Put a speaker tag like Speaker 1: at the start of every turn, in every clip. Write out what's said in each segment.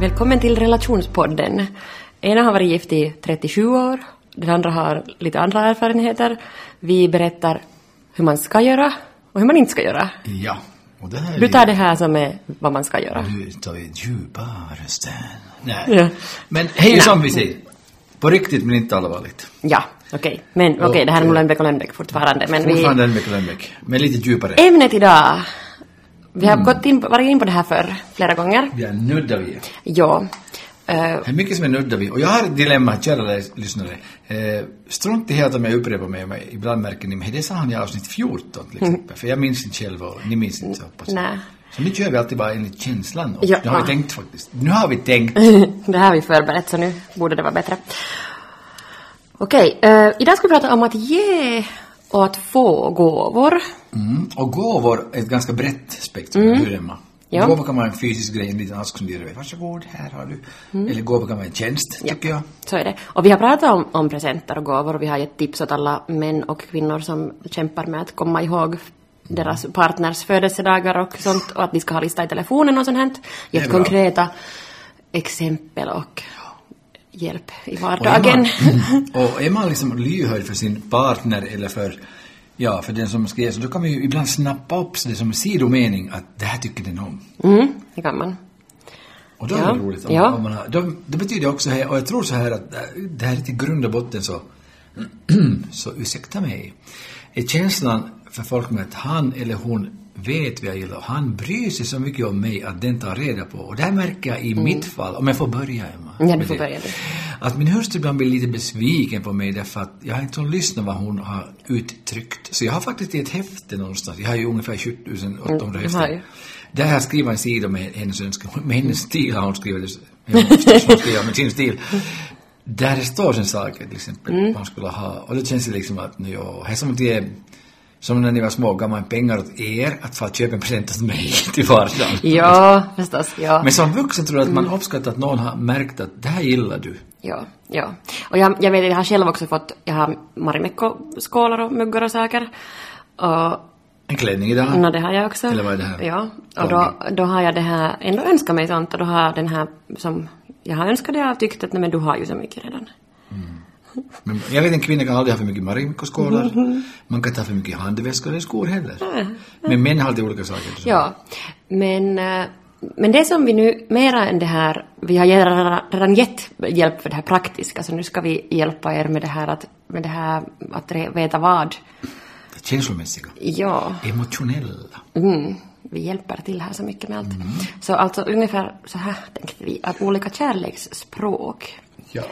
Speaker 1: Välkommen till relationspodden. Ena har varit gift i 37 år, den andra har lite andra erfarenheter. Vi berättar hur man ska göra och hur man inte ska göra.
Speaker 2: Ja, och det här är
Speaker 1: Du tar det här som är vad man ska göra.
Speaker 2: Nu tar vi djupa rösten. Nej.
Speaker 1: Ja.
Speaker 2: Men hej och samvitsig! På riktigt men inte allvarligt.
Speaker 1: Ja, okej. Men okej, det här är nog Lennbeck och Lennbeck fortfarande. Men vi... Eh.
Speaker 2: Fortfarande Lennbeck och Lennbeck, men lite djupare.
Speaker 1: Ämnet idag. Vi har gått in, varit in på det här för flera gånger.
Speaker 2: Vi är nudda vid.
Speaker 1: Ja. Eh,
Speaker 2: Det är mycket som är nudda vid. Och jag har ett dilemma, kära lä- lyssnare. Eh, strunt i helt om jag upprepar mig, men ibland märker ni, men det sa han i avsnitt 14 till exempel. För jag minns inte själv och ni minns inte så hoppas jag.
Speaker 1: Mm. nej.
Speaker 2: Så nu kör vi alltid bara enligt känslan. Och
Speaker 1: Ja.
Speaker 2: Nu har vi tänkt faktiskt. Nu har vi tänkt.
Speaker 1: det här har vi förberett så nu borde det vara bättre. Okej, eh, idag ska vi prata om att ge och att få gåvor.
Speaker 2: Mm. Och gåvor är ett ganska brett spektrum, mm. hur Emma?
Speaker 1: Ja.
Speaker 2: Gåvor kan vara en fysisk grej, en liten ask som du ger iväg. Varsågod, här har du. Eller gåvor kan vara en tjänst, tycker jag.
Speaker 1: Så är det. Och vi har pratat om, om presenter och gåvor och vi har gett tips åt alla män och kvinnor som kämpar med att komma ihåg deras
Speaker 2: Mm.
Speaker 1: partners födelsedagar och sånt och att vi ska ha lista i telefonen och sånt här.
Speaker 2: Det är
Speaker 1: Gett
Speaker 2: bra.
Speaker 1: konkreta exempel och hjälp i
Speaker 2: Och är
Speaker 1: vardagen.
Speaker 2: man- Och är man liksom lyhörd för sin partner eller för, ja, för den som ska ge, så då kan man ju ibland snappa upp det som en sidomening att det här tycker den om.
Speaker 1: Mm, det kan man.
Speaker 2: Och då
Speaker 1: Ja.
Speaker 2: är det roligt. Om,
Speaker 1: Ja.
Speaker 2: om man har, då, det betyder också, här, och jag tror så här att eh, det här är till grund och botten så, så ursäkta mig, är känslan för folk med att han eller hon vet vad jag gillar och han bryr sig så mycket om mig att den tar reda på. Och det här märker jag i mitt fall, om jag får börja Emma.
Speaker 1: Mm. Ja, du
Speaker 2: med
Speaker 1: får
Speaker 2: det.
Speaker 1: börja du.
Speaker 2: Att min hustru ibland blir lite besviken på mig därför att jag har inte hunnit lyssna vad hon har uttryckt. Så jag har faktiskt i ett häfte någonstans, jag har ju ungefär 7800
Speaker 1: Mm,
Speaker 2: häften.
Speaker 1: har ju.
Speaker 2: Där har jag skrivit en sida med hennes önskemål, med hennes stil har hon skrivit det. Hon skriver med sin stil. Där det står sen saker till exempel,
Speaker 1: Mm.
Speaker 2: vad hon skulle ha. Och det känns det liksom att, nu, ja, här som det är som när ni var små gav man pengar åt er att få köpa en present åt mig till vardagen.
Speaker 1: Ja, Mm. förstås. Ja.
Speaker 2: Men som vuxen tror jag att man uppskattar att någon har märkt att det här gillar du.
Speaker 1: Ja, ja. Och jag, jag vet, jag har själv också fått, jag har Marimekko-skålar och muggar och saker. Och,
Speaker 2: En klänning idag.
Speaker 1: nå, Mm, det har jag också.
Speaker 2: Eller vad är det här?
Speaker 1: Ja. Och då, då har jag det här, ändå önskat mig sånt och då har den här som jag har önskat det har tyckt att nej men du har ju så mycket redan.
Speaker 2: Men jag vet en kvinna kan aldrig ha för mycket marimekkoskålar.
Speaker 1: Mm,
Speaker 2: Man kan inte ha för mycket handväskor eller skor heller. Men män har alltid olika saker. Så.
Speaker 1: Ja. Men, eh, men det som vi nu, mera än det här, vi har redan, redan gett hjälp för det här praktiska så nu ska vi hjälpa er med det här att, med det här att re, veta vad.
Speaker 2: Känslomässiga.
Speaker 1: Ja.
Speaker 2: Emotionella.
Speaker 1: Mm, vi hjälper till här så mycket med allt.
Speaker 2: Mm.
Speaker 1: Så alltså ungefär så här tänkte vi, att olika kärleksspråk.
Speaker 2: Ja.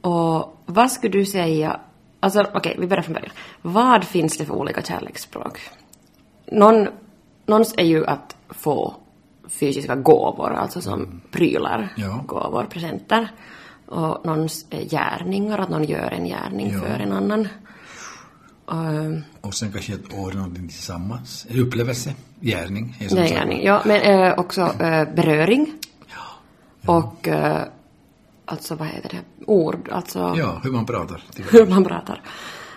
Speaker 1: Och vad skulle du säga, alltså okej, vi börjar från början. Vad finns det för olika kärleksspråk? Någon, någons är ju att få fysiska gåvor, alltså som prylar,
Speaker 2: Mm. Ja.
Speaker 1: gåvor, presenter. Och någons är gärningar, att någon gör en gärning
Speaker 2: Ja.
Speaker 1: för en annan. Ehm,
Speaker 2: Och sen kanske att ordna någonting tillsammans. En upplevelse. Gärning. är som
Speaker 1: Nej,
Speaker 2: sagt.
Speaker 1: gärning. Ja, men eh, också eh, beröring. Och eh, alltså vad heter det? Ord, alltså
Speaker 2: Ja, hur man pratar. till
Speaker 1: hur man pratar.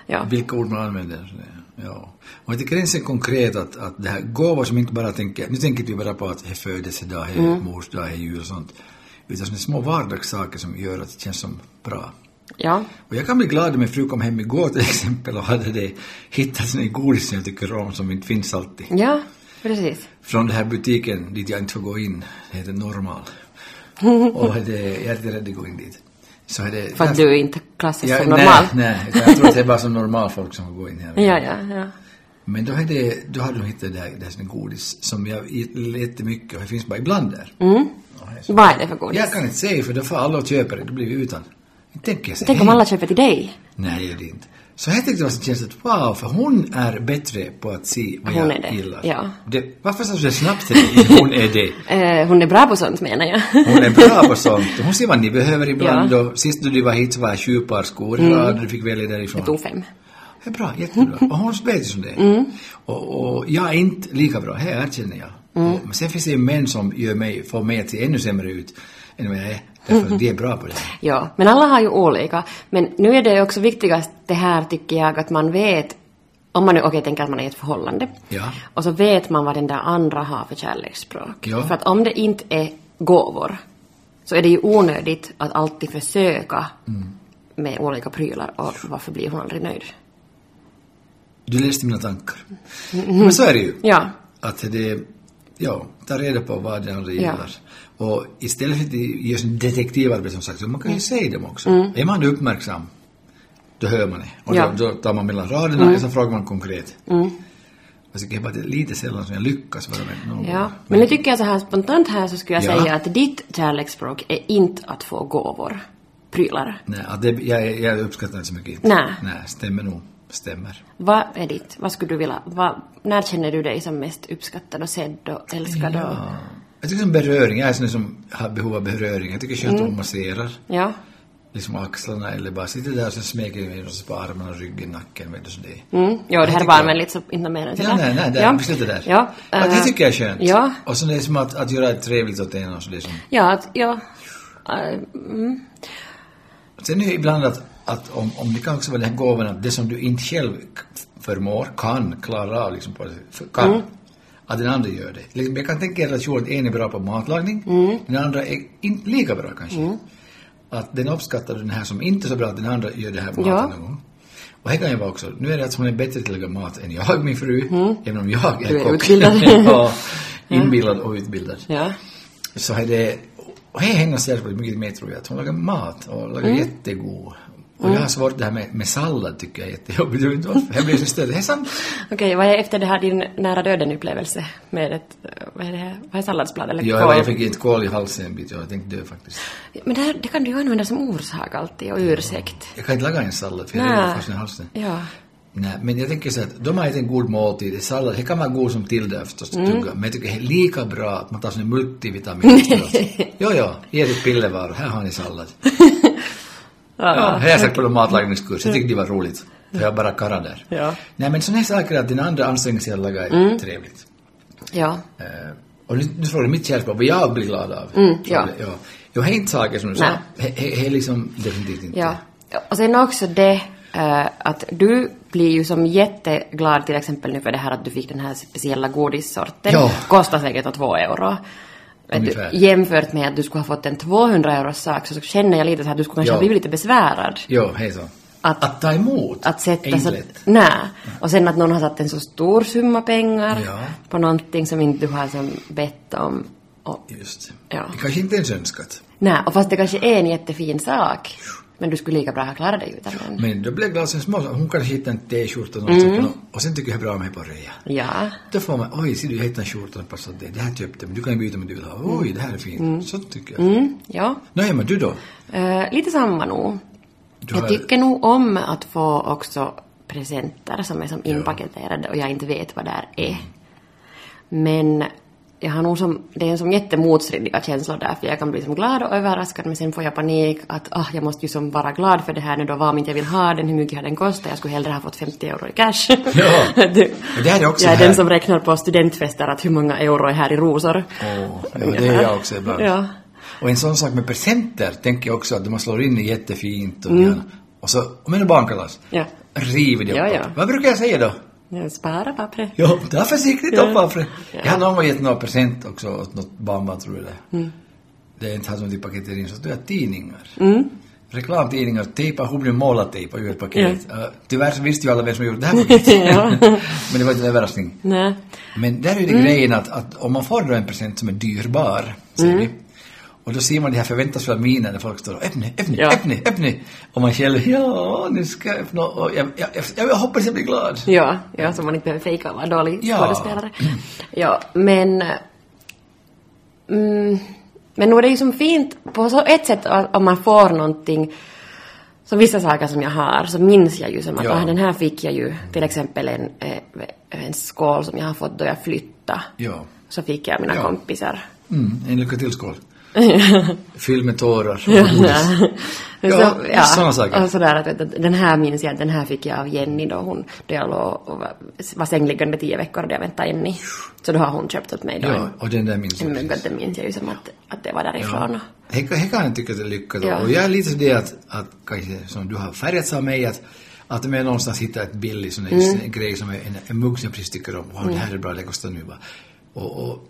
Speaker 1: Ja.
Speaker 2: Vilka ord man använder. Ja. Och jag tycker det är så konkret att, att det här gåvor som inte bara tänker, nu tänker inte vi bara på att det är födelsedag, det är mors dag, det är jul och sånt. Utan såna små vardagssaker som gör att det känns som bra.
Speaker 1: ja.
Speaker 2: Och jag kan bli glad om min fru kom hem igår till exempel och hade det, hittat sin godis som jag tycker om som inte finns alltid.
Speaker 1: Ja, precis.
Speaker 2: Från den här butiken dit jag inte får gå in, det heter Normal. Och det, jag är lite rädd att gå in dit. Så det,
Speaker 1: För att du är inte klassas
Speaker 2: jag,
Speaker 1: som normal.
Speaker 2: Nej, nej, jag tror att det är bara som normal folk som får gå in här.
Speaker 1: Ja, ja, ja.
Speaker 2: Men då, är det, då har de hittat det här, det här som är godis som jag gillar jättemycket och det finns bara ibland där. Mm.
Speaker 1: Vad är det för godis?
Speaker 2: Jag kan inte säga för då får alla och köper det, då blir vi utan. Tänker jag säga,
Speaker 1: Tänk om alla köper till dig.
Speaker 2: Nej, det gör det inte. Så jag tyckte det var så känns att wow, för hon är bättre på att se vad
Speaker 1: Hon
Speaker 2: jag
Speaker 1: är det,
Speaker 2: gillar.
Speaker 1: ja.
Speaker 2: Det, varför sa du det snabbt till dig? Hon är det.
Speaker 1: Eh, hon är bra på sånt menar jag.
Speaker 2: Hon är bra på sånt. Hon ser vad ni behöver ibland
Speaker 1: Ja. Mm.
Speaker 2: och sist då du var hit så var jag sju par skor i rad och du fick välja därifrån.
Speaker 1: Jag tog fem.
Speaker 2: Det är bra, jättebra. Och hon vet som det är.
Speaker 1: Mm.
Speaker 2: Och, och jag är inte lika bra, det erkänner jag.
Speaker 1: Mm.
Speaker 2: Och, men sen finns det ju män som gör mig, får mig att se ännu sämre ut än vad jag är. Därför
Speaker 1: Mm.
Speaker 2: att de är bra på det.
Speaker 1: Ja, men alla har ju olika. Men nu är det också viktigast det här tycker jag att man vet om man nu, okej, tänker att man är i ett förhållande.
Speaker 2: Ja.
Speaker 1: Och så vet man vad den där andra har för kärleksspråk.
Speaker 2: Ja.
Speaker 1: För att om det inte är gåvor, så är det ju onödigt att alltid försöka
Speaker 2: Mm.
Speaker 1: med olika prylar och varför blir hon aldrig nöjd?
Speaker 2: Du läste mina tankar. Men så är det ju.
Speaker 1: Mm. Ja.
Speaker 2: Att det, ja, ta reda på vad den andra
Speaker 1: Ja.
Speaker 2: gillar. Och istället för att göra sånt detektivarbete som sagt, så man kan ju säga dem också. Är man uppmärksam, då hör man det. Och
Speaker 1: Mm. Ja. Mm.
Speaker 2: då, då tar man mellan raderna och så frågar man konkret. Jag tycker bara att det är lite sällan som jag lyckas vara med någon.
Speaker 1: Ja, men nu tycker jag så här spontant här så skulle jag
Speaker 2: Ja.
Speaker 1: säga att ditt kärleksspråk är inte att få gåvor, prylar.
Speaker 2: Nej, att det, jag, jag uppskattar inte så mycket.
Speaker 1: Nej.
Speaker 2: Nej, stämmer nog. Stämmer.
Speaker 1: Vad är ditt? Vad skulle du vilja? Vad, när känner du dig som mest uppskattad och sedd och älskad? Och,
Speaker 2: Ja. Jag tycker som beröring, jag är sån som har behov av beröring. Jag tycker
Speaker 1: Mm.
Speaker 2: skönt om man masserar.
Speaker 1: ja.
Speaker 2: liksom axlarna eller bara sitter där och sen smeker jag mig på armarna, ryggen, nacken, vet du så det
Speaker 1: Mm. Jo, det här är
Speaker 2: tycker
Speaker 1: bara
Speaker 2: jag.
Speaker 1: allmänt så inte mer än
Speaker 2: Ja,
Speaker 1: sådär.
Speaker 2: nej, nej, det är
Speaker 1: ja.
Speaker 2: absolut det där.
Speaker 1: Ja.
Speaker 2: ja, det
Speaker 1: eh,
Speaker 2: tycker jag är skönt.
Speaker 1: Ja.
Speaker 2: Och sen är det som att, att göra ett trevligt åt en och så det är som...
Speaker 1: Ja, att, ja. Eh, mm.
Speaker 2: Sen är det ibland att, att om, om det kan också vara den här gåvan att det som du inte själv k- förmår, kan, klarar av liksom, på, för- kan,
Speaker 1: Mm.
Speaker 2: att den andra gör det. Liksom, jag kan tänka er att att en är bra på matlagning,
Speaker 1: Mm.
Speaker 2: den andra är inte lika bra kanske. Att den uppskattar den här som inte är så bra, att den andra gör det här maten
Speaker 1: Ja.
Speaker 2: någon gång. Och här kan jag vara också, nu är det att hon är bättre till att laga mat än jag, min fru, även om jag är,
Speaker 1: Mm. Du är
Speaker 2: kock.
Speaker 1: utbildad.
Speaker 2: ja, inbillad och utbildad.
Speaker 1: ja.
Speaker 2: Så är det, och här hänger särskilt mycket med tror jag, att hon lagar mat och lagar jättegod. Och jag har svårt det här med, med sallad tycker jag är jättejobbigt. Jag vet inte varför. Jag blir så störd. Det är sant.
Speaker 1: Okej, vad är efter det här din nära döden-upplevelse med ett, eh, vad är det här, vad är salladsblad eller
Speaker 2: Jag,
Speaker 1: kål?
Speaker 2: jag fick ett kol i halsen en bit och jag tänkte dö faktiskt.
Speaker 1: Men det, här, det kan du ju använda som orsak alltid och ursäkt.
Speaker 2: Jag kan inte laga en sallad för jag
Speaker 1: Nej.
Speaker 2: har redan fastnat i halsen.
Speaker 1: Ja.
Speaker 2: Nej, men jag tänker så att de har ätit en god måltid. Sallad, det kan vara god som tillde förstås
Speaker 1: Mm.
Speaker 2: att tugga. Men jag tycker det är lika bra att man tar sån här multivitamin efteråt. Jo, jo, ge ditt pillervaror. Här har ni sallad. Ja, här har jag sagt på de matlagningskurser. Jag tyckte det var roligt. För jag bara karrar där.
Speaker 1: Ja. Mm.
Speaker 2: Nej, men sådana här saker att den andra anstränger sig att laga är trevligt.
Speaker 1: Ja.
Speaker 2: Eh, och nu, nu frågar du mitt kärleksspråk, vad jag blir glad av.
Speaker 1: Mm, ja.
Speaker 2: ja. Jag har inte saker som du sa.
Speaker 1: Nej.
Speaker 2: Det är liksom definitivt inte.
Speaker 1: Ja. Och sen också det eh, att du blir ju som jätteglad till exempel nu för det här att du fick den här speciella godissorten.
Speaker 2: Ja.
Speaker 1: Kostar säkert att två euro. Vet du,
Speaker 2: Ungefär.
Speaker 1: jämfört med att du skulle ha fått en 200 euros sak så känner jag lite så här att du skulle kanske
Speaker 2: Ja.
Speaker 1: ha blivit lite besvärad.
Speaker 2: Jo, hej så.
Speaker 1: Att-
Speaker 2: att ta emot
Speaker 1: Att
Speaker 2: är
Speaker 1: sätta
Speaker 2: inte
Speaker 1: så...
Speaker 2: lätt.
Speaker 1: Nej. Och sen att någon har satt en så stor summa pengar
Speaker 2: Ja.
Speaker 1: på någonting som inte du har som bett om. Och...
Speaker 2: Just.
Speaker 1: Ja.
Speaker 2: Det kanske inte ens önskat.
Speaker 1: Nej, och fast det kanske är en jättefin sak. Men du skulle lika bra ha klarat dig utan den.
Speaker 2: Men då blev glasen små. så Hon kanske hittade en t-skjorta någonstans mm. och sen tycker jag bra om mig på rea.
Speaker 1: Ja.
Speaker 2: Då får man, oj, ser du, jag hittade en skjorta som passar dig. Det här köpte jag, men du kan byta om du vill ha. Oj, det här är fint. Så tycker jag.
Speaker 1: Mm, ja.
Speaker 2: Nåja, men du då?
Speaker 1: Eh, lite samma nog.
Speaker 2: Du
Speaker 1: Jag tycker nog om att få också presenter som är som inpaketerade och jag inte vet vad det här är. Men jag har nog som, det är en som jättemotstridiga känslor där för jag kan bli som glad och överraskad men sen får jag panik att ah, jag måste ju som vara glad för det här nu då, vad om inte jag vill ha den, hur mycket har den kostat, jag skulle hellre ha fått 50 euro i cash.
Speaker 2: Ja.
Speaker 1: Du-
Speaker 2: Men det här är också
Speaker 1: jag är
Speaker 2: här.
Speaker 1: den som räknar på studentfester att hur många euro är här i rosor.
Speaker 2: Åh, ja, det är jag också ibland.
Speaker 1: Ja.
Speaker 2: Och en sån sak med presenter tänker jag också att man slår in i jättefint och, gärna. och så, om det är barnkalas,
Speaker 1: Mm. Ja.
Speaker 2: river det
Speaker 1: Ja,
Speaker 2: upp.
Speaker 1: ja.
Speaker 2: Vad brukar jag säga då?
Speaker 1: Ja, Spara pappret.
Speaker 2: Jo, det är försiktigt
Speaker 1: Ja.
Speaker 2: uppoffring.
Speaker 1: Ja.
Speaker 2: Jag har någon gång gett några present också åt något barnbarn tror jag det mm. Det är inte han som till paketering, så det är tidningar.
Speaker 1: Mm.
Speaker 2: Reklamtidningar, tejpa, hon blev målartejpa ur ett paket. Uh, tyvärr så visste ju alla vem som gjort det här paketet.
Speaker 1: Ja. Mm.
Speaker 2: Men det var inte en överraskning.
Speaker 1: Nej.
Speaker 2: Men där är ju det grejen att, att om man får då en present som är dyrbar, säger
Speaker 1: Mm.
Speaker 2: vi, och då ser man det här förväntansfulla minen när folk står och öppna, öppna,
Speaker 1: Ja.
Speaker 2: öppna, öppna. Och man själv, ja, nu ska jag öppna och jag, jag, jag, jag hoppas jag blir glad.
Speaker 1: Ja, ja, som man inte behöver fejka och vara dålig
Speaker 2: Ja.
Speaker 1: skådespelare. Ja, men... eh, Mm, men nog är det ju som fint på så ett sätt att om man får någonting som vissa saker som jag har så minns jag ju som att
Speaker 2: Ja.
Speaker 1: ah, den här fick jag ju till exempel en, eh, en skål som jag har fått då jag flyttade.
Speaker 2: Ja.
Speaker 1: Så fick jag mina
Speaker 2: Ja.
Speaker 1: kompisar.
Speaker 2: Mm, en lycka till skål. Fylld med tårar och godis.
Speaker 1: Men
Speaker 2: Ja,
Speaker 1: så-
Speaker 2: just såna saker.
Speaker 1: Och sådär att, vet du, att den här minns jag, att den här fick jag av Jenny då hon, då jag låg och var, var sängliggande tio veckor och jag väntade Jenny. Så då har hon köpt åt mig då
Speaker 2: Ja, och den där minns
Speaker 1: en
Speaker 2: jag.
Speaker 1: mugg att det minns jag ju som att, att det var därifrån.
Speaker 2: Ja. Här här kan jag tycka att det är lyckat.
Speaker 1: Ja.
Speaker 2: Och jag är lite så det att, att kanske som du har färgats av mig, att, att om jag någonstans hittar ett billig
Speaker 1: Mm.
Speaker 2: sån här grej som är en, en mugg som jag precis tycker om, wow, det här är bra, det kostar nu bara. Och, och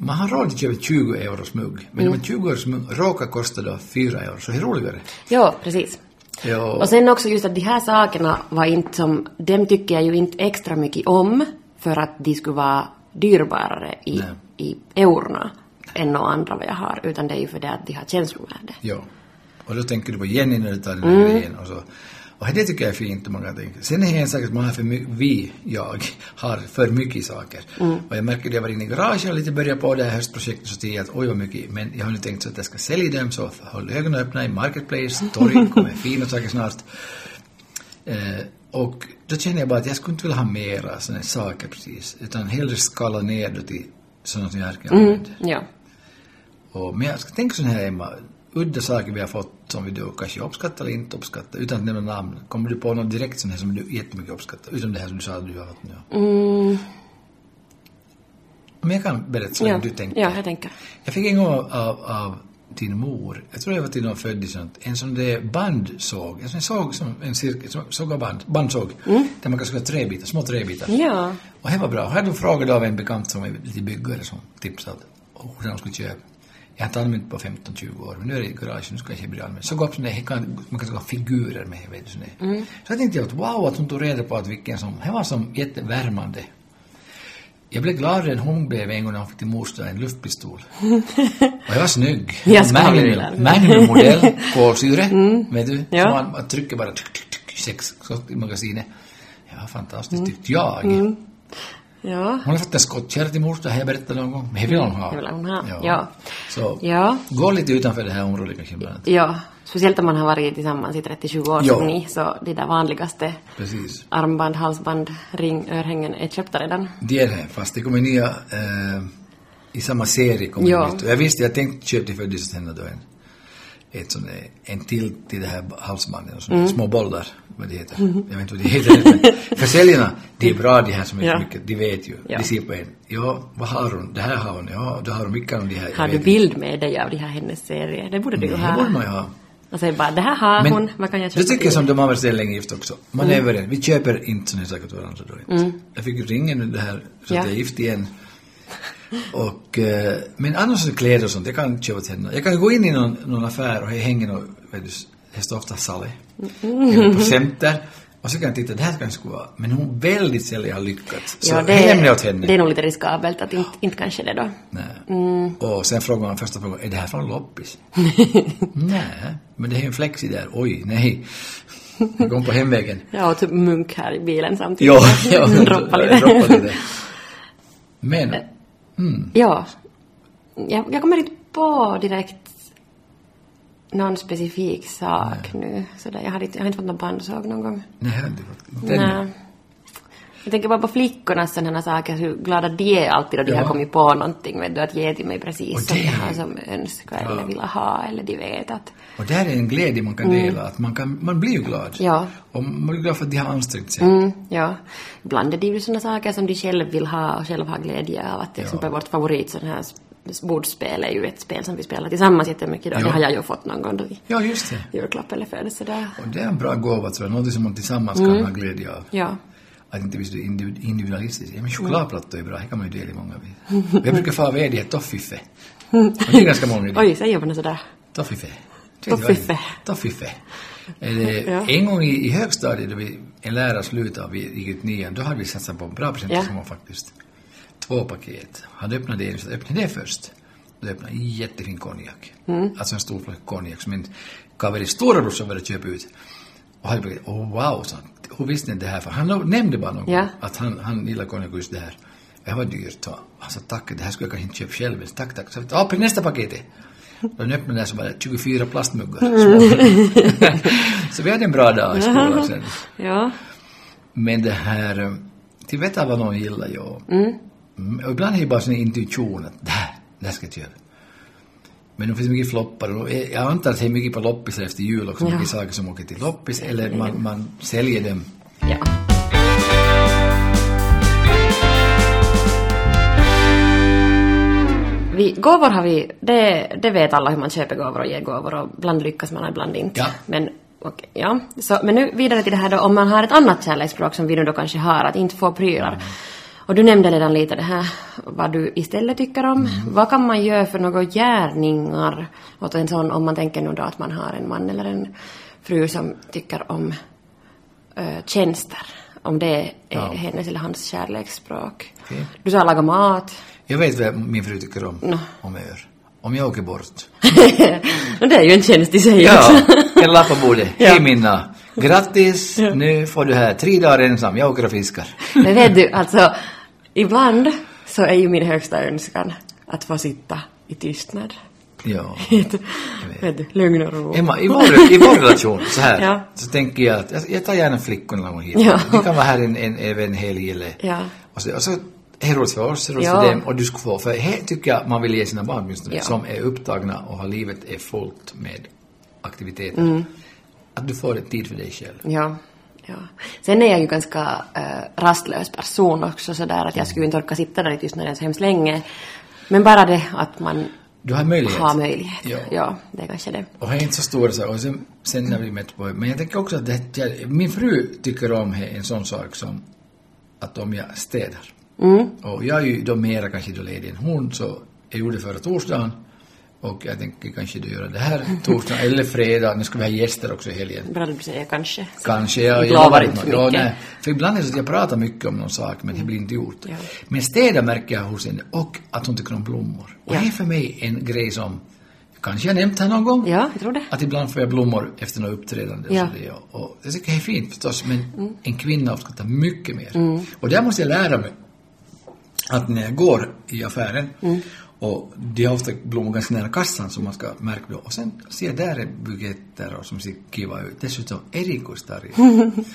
Speaker 2: Man har råd att köpa 20 euros mugg, men
Speaker 1: Mm.
Speaker 2: om en 20 euros mugg råkar kosta då 4 euro, så är det roligare.
Speaker 1: Ja, precis.
Speaker 2: Ja,
Speaker 1: Och sen också just att de här sakerna var inte som, dem tycker jag ju inte extra mycket om för att de skulle vara dyrbarare i,
Speaker 2: Nej.
Speaker 1: i eurona än några andra vad jag har, utan det är ju för det att de har känslovärde.
Speaker 2: ja. Och då tänker du på Jenny när du tar den här grejen och så. Och det tycker jag är fint om man kan tänka. Sen är det en sak att man har för mycket, vi, jag, har för mycket saker. Och jag märker det, jag var inne i garaget och lite började på det här höstprojektet så tyckte jag att oj vad mycket, men jag har nu tänkt så att jag ska sälja dem så håll ögonen öppna i Marketplace, torg, kommer fina saker snart. Eh, och då känner jag bara att jag skulle inte vilja ha mera sådana saker precis, utan hellre skala ner då till sådana som jag kan använda.
Speaker 1: Ja.
Speaker 2: Och, men jag ska tänka så här Emma, udda saker vi har fått som vi då kanske uppskattar eller inte uppskattar, utan att nämna namn. Kommer du på något direkt sån här som du jättemycket uppskattar, utom det här som du sa att du har fått nu?
Speaker 1: Mm,
Speaker 2: Men jag kan berätta vad
Speaker 1: ja.
Speaker 2: du tänkte.
Speaker 1: ja, jag tänker.
Speaker 2: Jag fick en gång av, av, av din mor, jag tror jag var till någon född i sånt, en sån där bandsåg, en sån såg som en cirkel, som- såg av band, bandsåg, där man kan skruva träbitar, små träbitar.
Speaker 1: Mm. Ja.
Speaker 2: Och det var bra. Jag hade en fråga av en bekant som är lite byggare som tipsade om hur han skulle köpa. Jag har inte använt på 15-20 år, men nu är det i garaget, nu ska jag bli använd. Så går upp sådana här, kan- man kan ta figurer med, vet du, såna här.
Speaker 1: Mm.
Speaker 2: Så jag tänkte att wow, att hon tog reda på att vilken som, det var som jättevärmande. Jag blev gladare än hon blev en gång när hon fick till moster en luftpistol. Och jag var snygg.
Speaker 1: Jag ska ha den där.
Speaker 2: Magnum-modell, kolsyre, vet du.
Speaker 1: Mm. Ja.
Speaker 2: Så man, man trycker bara tryck, tryck, tryck, sex skott i magasinet. Ja,
Speaker 1: Mm.
Speaker 2: fantastiskt tyckte jag.
Speaker 1: Ja.
Speaker 2: Hon har fått en skottkärra till morsan, har jag berättat någon gång. Men det vill hon ha.
Speaker 1: Det vill hon ha, ja.
Speaker 2: Så
Speaker 1: Ja.
Speaker 2: gå lite utanför det här området kanske ibland.
Speaker 1: Ja. Speciellt om man har varit tillsammans i 30-20 år
Speaker 2: Ja.
Speaker 1: som ni, så de där vanligaste
Speaker 2: Precis.
Speaker 1: armband, halsband, ring, örhängen är köpta redan.
Speaker 2: Det är det, fast det kommer nya eh, i samma serie. Kommer
Speaker 1: Ja.
Speaker 2: det nytt. Och jag visste, jag tänkte köpa till födelsedagshända då en, ett sån, där- en till till det här halsbandet och
Speaker 1: Mm.
Speaker 2: sådana små bollar, vad det heter. Jag vet inte vad det heter. men Försäljarna, det är bra de här som är
Speaker 1: Ja.
Speaker 2: för mycket, de vet ju.
Speaker 1: Ja.
Speaker 2: De ser på en, ja, vad har hon? Det här har hon, ja, då har hon mycket av de här. jag
Speaker 1: Har
Speaker 2: vet
Speaker 1: du
Speaker 2: inte.
Speaker 1: bild med dig av de här hennes serier? Det borde du ju
Speaker 2: Det borde
Speaker 1: ha.
Speaker 2: man ju ha.
Speaker 1: Och säger bara, det här har hon, vad kan jag köpa
Speaker 2: det tycker jag
Speaker 1: till?" Mm.
Speaker 2: som de andra ställer länge gift också. Man är överens. Vi köper inte sådana saker åt varandra då inte. Jag fick ju ringen ur det här så
Speaker 1: Ja.
Speaker 2: att jag är gift igen. Och, eh, men annars så kläder och sånt, jag kan köpa till henne. Jag kan gå in i någon, någon affär och det hänger någon, vet du, det står ofta Sally.
Speaker 1: Mm.
Speaker 2: Eller på Center. Och så kan jag titta, det här kanske skulle vara, men hon väldigt sällan har lyckats. Så
Speaker 1: Ja,
Speaker 2: det lämnar jag åt henne.
Speaker 1: Det är nog lite riskabelt att inte, inte kanske det då.
Speaker 2: Nej.
Speaker 1: Mm.
Speaker 2: Och sen frågar man första frågan, är det här från loppis? nej, men det är ju en flexi där. Oj, nej. Jag kom på hemvägen.
Speaker 1: Ja, och typ munk här i bilen samtidigt.
Speaker 2: Ja, ja
Speaker 1: Droppa lite.
Speaker 2: droppa lite. Men,
Speaker 1: Eh. ja. Jag, jag kommer inte på direkt någon specifik sak nu. Sådär. Jag, har inte, jag har inte fått någon bandsåg någon gång.
Speaker 2: nej, här har inte fått. Den-
Speaker 1: Nej. Jag tänker bara på flickornas sådana saker, hur glada de är alltid då de
Speaker 2: Ja.
Speaker 1: har kommit på någonting, vet du, att ge till mig precis
Speaker 2: Och
Speaker 1: som
Speaker 2: det-
Speaker 1: jag har som önskar eller vill ha eller de vet att...
Speaker 2: Och där är en glädje man kan dela, att man, kan, man blir ju glad.
Speaker 1: Mm. Ja.
Speaker 2: Och man blir glad för att de har ansträngt sig.
Speaker 1: Mm, ja. Ibland är det ju sådana saker som de själv vill ha och själv har glädje av. Att till exempel vårt favorit sån här s- bordsspel är ju ett spel som vi spelar tillsammans jättemycket. Då.
Speaker 2: Ja.
Speaker 1: Det har jag ju fått någon gång då i
Speaker 2: Ja, just det.
Speaker 1: julklapp eller födelsedag.
Speaker 2: Och det är en bra gåva tror jag, något som man tillsammans
Speaker 1: Mm.
Speaker 2: kan ha glädje av.
Speaker 1: Ja.
Speaker 2: Att inte visst det är individ- individualistiskt. Ja, men chokladplattor är bra, det kan man ju dela i många bitar. Och jag brukar få av er det här toffiffe. Och det är ganska många idéer.
Speaker 1: Oj, säger man sådär?
Speaker 2: Toffiffe.
Speaker 1: Toffiffe.
Speaker 2: Toffiffe. Eller,
Speaker 1: Ja.
Speaker 2: En gång i, i högstadiet, då vi, en lärare slutade och vi gick ut nian, då hade vi satsat på en bra presentation faktiskt. Två paket. Han öppnade det, så öppnade det först. Då öppnade en jättefin konjak. Alltså en stor flaska konjak som min kaveri storebrorsa började köpa ut. Och han började, oh wow, sa han. Hur visste ni det här? För han nämnde bara någon gång
Speaker 1: Ja.
Speaker 2: att han, han gillar konjak just det här. Det här var dyrt. sa han. Han sa tack, det här skulle jag kanske inte köpa själv. Men Tack, tack. Så jag upp i nästa paket. Då öppnade jag så var det 24 plastmuggar. Så- så vi hade en bra dag i skolan sen.
Speaker 1: Ja. men
Speaker 2: Men det här, eh, till vet jag vad någon gillar, ja. Mm, och ibland är det bara sån intuition att det här, det här ska jag göra. Men det finns mycket floppar och eh, jag antar att det är mycket på loppis efter jul också,
Speaker 1: Ja.
Speaker 2: mycket saker som åker till loppis eller man, man säljer dem.
Speaker 1: Ja. Vi, gåvor har vi, det, det vet alla hur man köper gåvor och ger gåvor och ibland lyckas man och ibland inte.
Speaker 2: Ja.
Speaker 1: Men, okej, ja. Så, men nu vidare till det här då, om man har ett annat kärleksspråk som vi nu då kanske har, att inte få prylar. Och du nämnde redan lite det här vad du istället tycker om.
Speaker 2: Mm.
Speaker 1: Vad kan man göra för några gärningar åt en sån om man tänker nu då att man har en man eller en fru som tycker om uh, tjänster? Om det är
Speaker 2: Ja.
Speaker 1: hennes eller hans kärleksspråk.
Speaker 2: Okej.
Speaker 1: Du sa laga mat.
Speaker 2: Jag vet vad min fru tycker om, om jag gör. Om jag åker bort.
Speaker 1: no, det är ju en tjänst i sig
Speaker 2: Ja,
Speaker 1: också.
Speaker 2: en lapp på bordet.
Speaker 1: Ja.
Speaker 2: Hej Minna. Grattis, nu får du här tre dagar ensam. Jag åker och fiskar.
Speaker 1: Men vet du, alltså ibland så är ju min högsta önskan att få sitta i tystnad.
Speaker 2: Ja.
Speaker 1: Vet du, lugn och ro.
Speaker 2: Emma, i vår, i vår relation, så här,
Speaker 1: Ja.
Speaker 2: så tänker jag att jag, jag tar gärna flickorna någon gång hit.
Speaker 1: Ja.
Speaker 2: Vi kan vara här en, en, även en helg eller...
Speaker 1: Ja.
Speaker 2: Och så, och så är det roligt för oss, det är roligt
Speaker 1: Ja.
Speaker 2: för dem och du ska få, för här tycker jag man vill ge sina barn åtminstone,
Speaker 1: Ja.
Speaker 2: som är upptagna och har livet är fullt med aktiviteter.
Speaker 1: Mm.
Speaker 2: Att du får tid för dig själv.
Speaker 1: Ja, ja. Sen är jag ju ganska eh, rastlös person också sådär att jag skulle inte orka sitta där i tystnaden så hemskt länge. Men bara det att man
Speaker 2: Du har möjlighet.
Speaker 1: har möjlighet.
Speaker 2: Ja.
Speaker 1: ja det är kanske det.
Speaker 2: Och jag är inte så stor så här, och sen, sen när vi mötte på Men jag tänker också att det, jag, min fru tycker om he- en sån sak som att om jag städar.
Speaker 1: Mm.
Speaker 2: Och jag är ju då mera kanske då ledig än hon, så jag gjorde förra torsdagen och jag tänker kanske då göra det här torsdagen eller fredag. Nu ska vi ha gäster också i helgen.
Speaker 1: Bra du säger kanske.
Speaker 2: Kanske. Jag,
Speaker 1: Ibland
Speaker 2: jag
Speaker 1: var
Speaker 2: lovar
Speaker 1: det
Speaker 2: inte
Speaker 1: inte
Speaker 2: något. Ja,
Speaker 1: mycket.
Speaker 2: nej. För ibland är det så att jag pratar mycket om någon sak men det blir inte gjort.
Speaker 1: Ja.
Speaker 2: Men städa märker jag hos henne och att hon tycker om blommor. Och
Speaker 1: Ja.
Speaker 2: det är för mig en grej som kanske jag nämnt här någon gång.
Speaker 1: Ja, jag tror det.
Speaker 2: Att ibland får jag blommor efter något uppträdande.
Speaker 1: Ja. Mm.
Speaker 2: Och, så det, och- och jag tycker det är fint förstås, men en kvinna uppskattar mycket mer. Och där måste jag lära mig att när jag går i affären
Speaker 1: Mm.
Speaker 2: och det är ofta blommor ganska nära kassan som man ska märka då. Och sen ser jag där är buketter och som ser kiva ut. Dessutom erikoistarjor.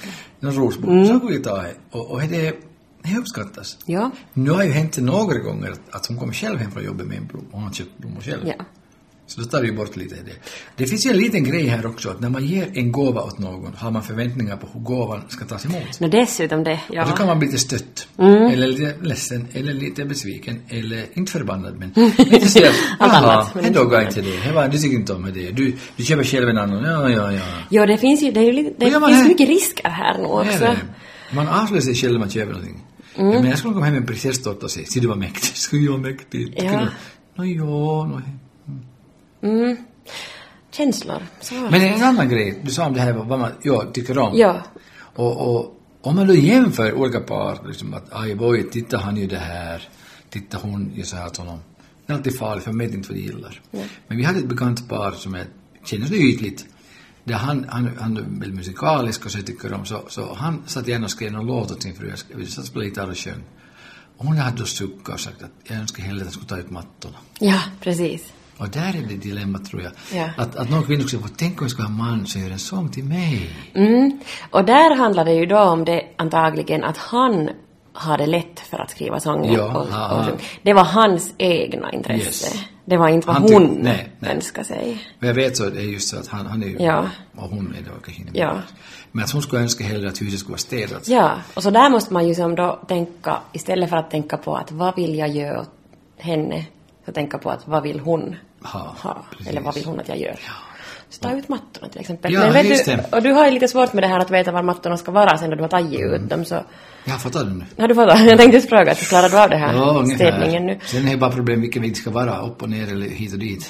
Speaker 2: Någon rosbom. Så går jag och tar det. Och, och det, är- det uppskattas.
Speaker 1: Mm. Ja.
Speaker 2: Nu har ju hänt det några gånger att, att hon kommer själv hem från jobbet med en blomma. Hon har köpt blommor själv.
Speaker 1: Ja.
Speaker 2: Så då tar vi bort lite av det. Det finns ju en liten grej här också, att när man ger en gåva åt någon har man förväntningar på hur gåvan ska tas emot.
Speaker 1: No, dessutom det.
Speaker 2: Och då
Speaker 1: Ja. Mm.
Speaker 2: kan man bli lite stött, eller lite ledsen, eller lite besviken, eller inte förbannad men lite stött.
Speaker 1: Allt
Speaker 2: Jaha,
Speaker 1: annat, men
Speaker 2: det
Speaker 1: inte
Speaker 2: doggar inte det. Det var- Du tycker inte om det. Du, du köper själv en annan. Ja, ja, ja.
Speaker 1: Jo, det finns ju, det är ju lite, det
Speaker 2: Vad gör man
Speaker 1: finns
Speaker 2: här?
Speaker 1: mycket risker här nu
Speaker 2: Det är
Speaker 1: också. Mm.
Speaker 2: det. Man avslöjar sig själv när man köper någonting. Ja, men jag skulle komma hem med en prinsesstårta och säga, se du var mäktig, skulle jag vara mäktig?
Speaker 1: Ja.
Speaker 2: Nå, ja, nå.
Speaker 1: Känslor. Så.
Speaker 2: Men en annan grej, du sa om det här vad man ja, tycker om.
Speaker 1: Ja.
Speaker 2: Och, och om man då jämför olika par, liksom att aj boy, titta han gör det här, titta hon gör så här åt honom. Det är alltid farligt, för man vet inte vad de gillar. Men vi hade ett bekant par som jag känner så ytligt, där han, han, han är väldigt musikalisk och så tycker om, så, så han satt gärna och skrev någon låt åt sin fru, jag sk- vi satt och spelade gitarr och sjöng. Och hon hade då suckat och sagt att jag önskar hellre att han skulle ta ut mattorna.
Speaker 1: Ja, precis.
Speaker 2: Och där är det dilemmat tror jag.
Speaker 1: Ja.
Speaker 2: Att, att någon kvinna skulle få, tänk om jag skulle ha en man som gör en sång till mig.
Speaker 1: Mm. Och där handlar det ju då om det antagligen att han hade lätt för att skriva sånger.
Speaker 2: Ja,
Speaker 1: och, och,
Speaker 2: aha.
Speaker 1: sjunga. det var hans egna intresse.
Speaker 2: Yes.
Speaker 1: Det var inte vad
Speaker 2: Han tyck-
Speaker 1: hon
Speaker 2: nej, nej.
Speaker 1: önskade sig.
Speaker 2: Men jag vet så, det är just så att han, han är ju,
Speaker 1: Ja.
Speaker 2: och hon är då kanske inte
Speaker 1: Ja.
Speaker 2: Men att hon skulle önska hellre att huset skulle vara städat.
Speaker 1: Ja, och så där måste man ju som då tänka, istället för att tänka på att vad vill jag göra åt henne, så tänka på att vad vill hon
Speaker 2: Ha,
Speaker 1: ha?
Speaker 2: precis.
Speaker 1: Eller vad vill hon att jag gör? Så ta ut mattorna till exempel.
Speaker 2: Ja, just
Speaker 1: du,
Speaker 2: det.
Speaker 1: och du har ju lite svårt med det här att veta var mattorna ska vara sen när du har tagit
Speaker 2: Mm.
Speaker 1: ut dem så
Speaker 2: Jag har fattat det nu.
Speaker 1: Har du fattat? Jag tänkte just fråga, att klarar du av det här
Speaker 2: Ja, ungefär.
Speaker 1: städningen nu?
Speaker 2: Sen är det bara problem vilken väg det ska vara, upp och ner eller hit och dit.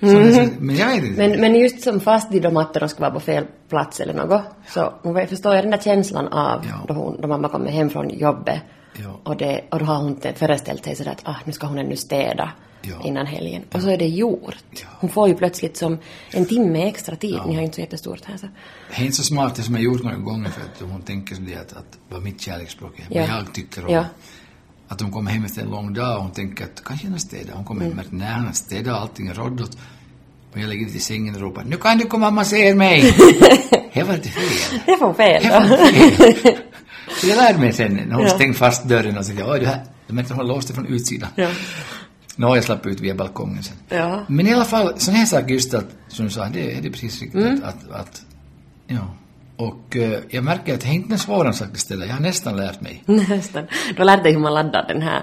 Speaker 2: Så det är så- Men jag vet inte.
Speaker 1: Mhm. Men, men just som fast de då mattorna skulle vara på fel plats eller något, så hon vet- förstår jag den där känslan av
Speaker 2: Ja.
Speaker 1: då, hon, då mamma kommer hem från jobbet
Speaker 2: Ja.
Speaker 1: och, det, och då har hon inte föreställt sig sådär att ah, nu ska hon ännu städa
Speaker 2: Ja.
Speaker 1: innan helgen. Och så är det gjort.
Speaker 2: Ja.
Speaker 1: Hon får ju plötsligt som en timme extra tid, ni har ju inte så jättestort här så.
Speaker 2: Det är inte så smart det som jag gjort några gånger för att hon tänker så det att, att vad mitt kärleksspråk är,
Speaker 1: Ja.
Speaker 2: vad jag tycker om.
Speaker 1: Ja.
Speaker 2: Att hon kommer hem efter en lång dag och hon tänker att kanske han har städat. Hon kommer hem
Speaker 1: Mm.
Speaker 2: och märker nej, han har städat allting är råddot. Och jag lägger dit i sängen och ropar nu kan du komma och massera mig. det var inte fel.
Speaker 1: Det får fel
Speaker 2: Det
Speaker 1: då.
Speaker 2: var fel. Så jag lärde mig sen när hon
Speaker 1: Ja.
Speaker 2: stängde fast dörren och tänkte oj, det här, jag märkte att hon låste från utsidan.
Speaker 1: Ja.
Speaker 2: Nå, jag slapp ut via balkongen sen.
Speaker 1: Ja.
Speaker 2: Men i alla fall, sån här sak just att, som du sa, det, det är precis riktigt
Speaker 1: Mm.
Speaker 2: att, att, att, ja. Och eh, jag märker att det är inte en svårare sak att ställa, jag har nästan lärt mig.
Speaker 1: Nästan. Du lärde dig hur man laddar den här,